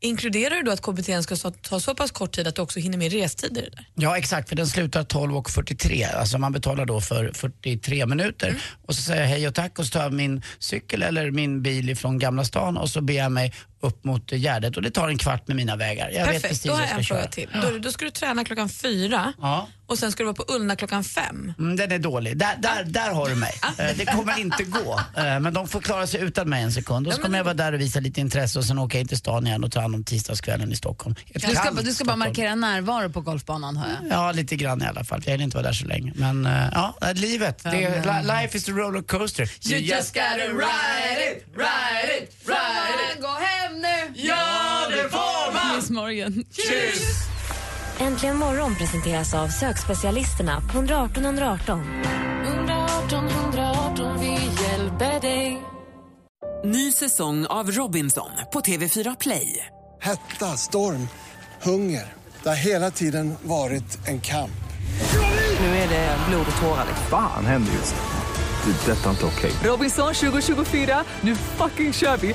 Inkluderar du då att KBT ska så- ta så pass kort tid att du också hinner med restider i det där?
Ja exakt, för den slutar 12.43. Alltså man betalar då för 43 minuter. Och så säger jag hej och tack och så tar jag min cykel eller min bil ifrån Gamla stan och så ber jag mig upp mot eh, Gärdet och det tar en kvart med mina vägar. Jag vet
Perfekt,
precis
då har
hur
jag
jag
en
ska
fråga
köra.
till. Då, då ska du träna klockan fyra
Ja.
och sen ska du vara på Ullna klockan fem.
Mm, den är dålig. Där, där, där har du mig. Eh, Det kommer inte gå. Eh, Men de får klara sig utan mig en sekund. Och så kommer jag vara där och visa lite intresse och sen åker jag in till stan igen och tar hand om tisdagskvällen i Stockholm.
Du
Ett
ska,
kallt
du ska bara
Stockholm.
markera närvaro på golfbanan, hör jag.
Ja, lite grann i alla fall. Jag vill inte vara där så länge. Men eh, ja, eh, livet. Det är, li- life is a rollercoaster.
You just gotta ride it, ride it, ride it.
Gå hem nu!
Ja, det får man!
Miss Morgan.
Cheers!
Äntligen morgon presenteras av sökspecialisterna på 118 118.
118 118, vi hjälper dig.
Ny säsong av Robinson på TV4 Play.
Hetta, storm, hunger. Det har hela tiden varit en kamp.
Nu är det blod och tårar.
Fan händer just nu. det. är Detta är inte okej.
Robinson 2024, nu fucking kör vi!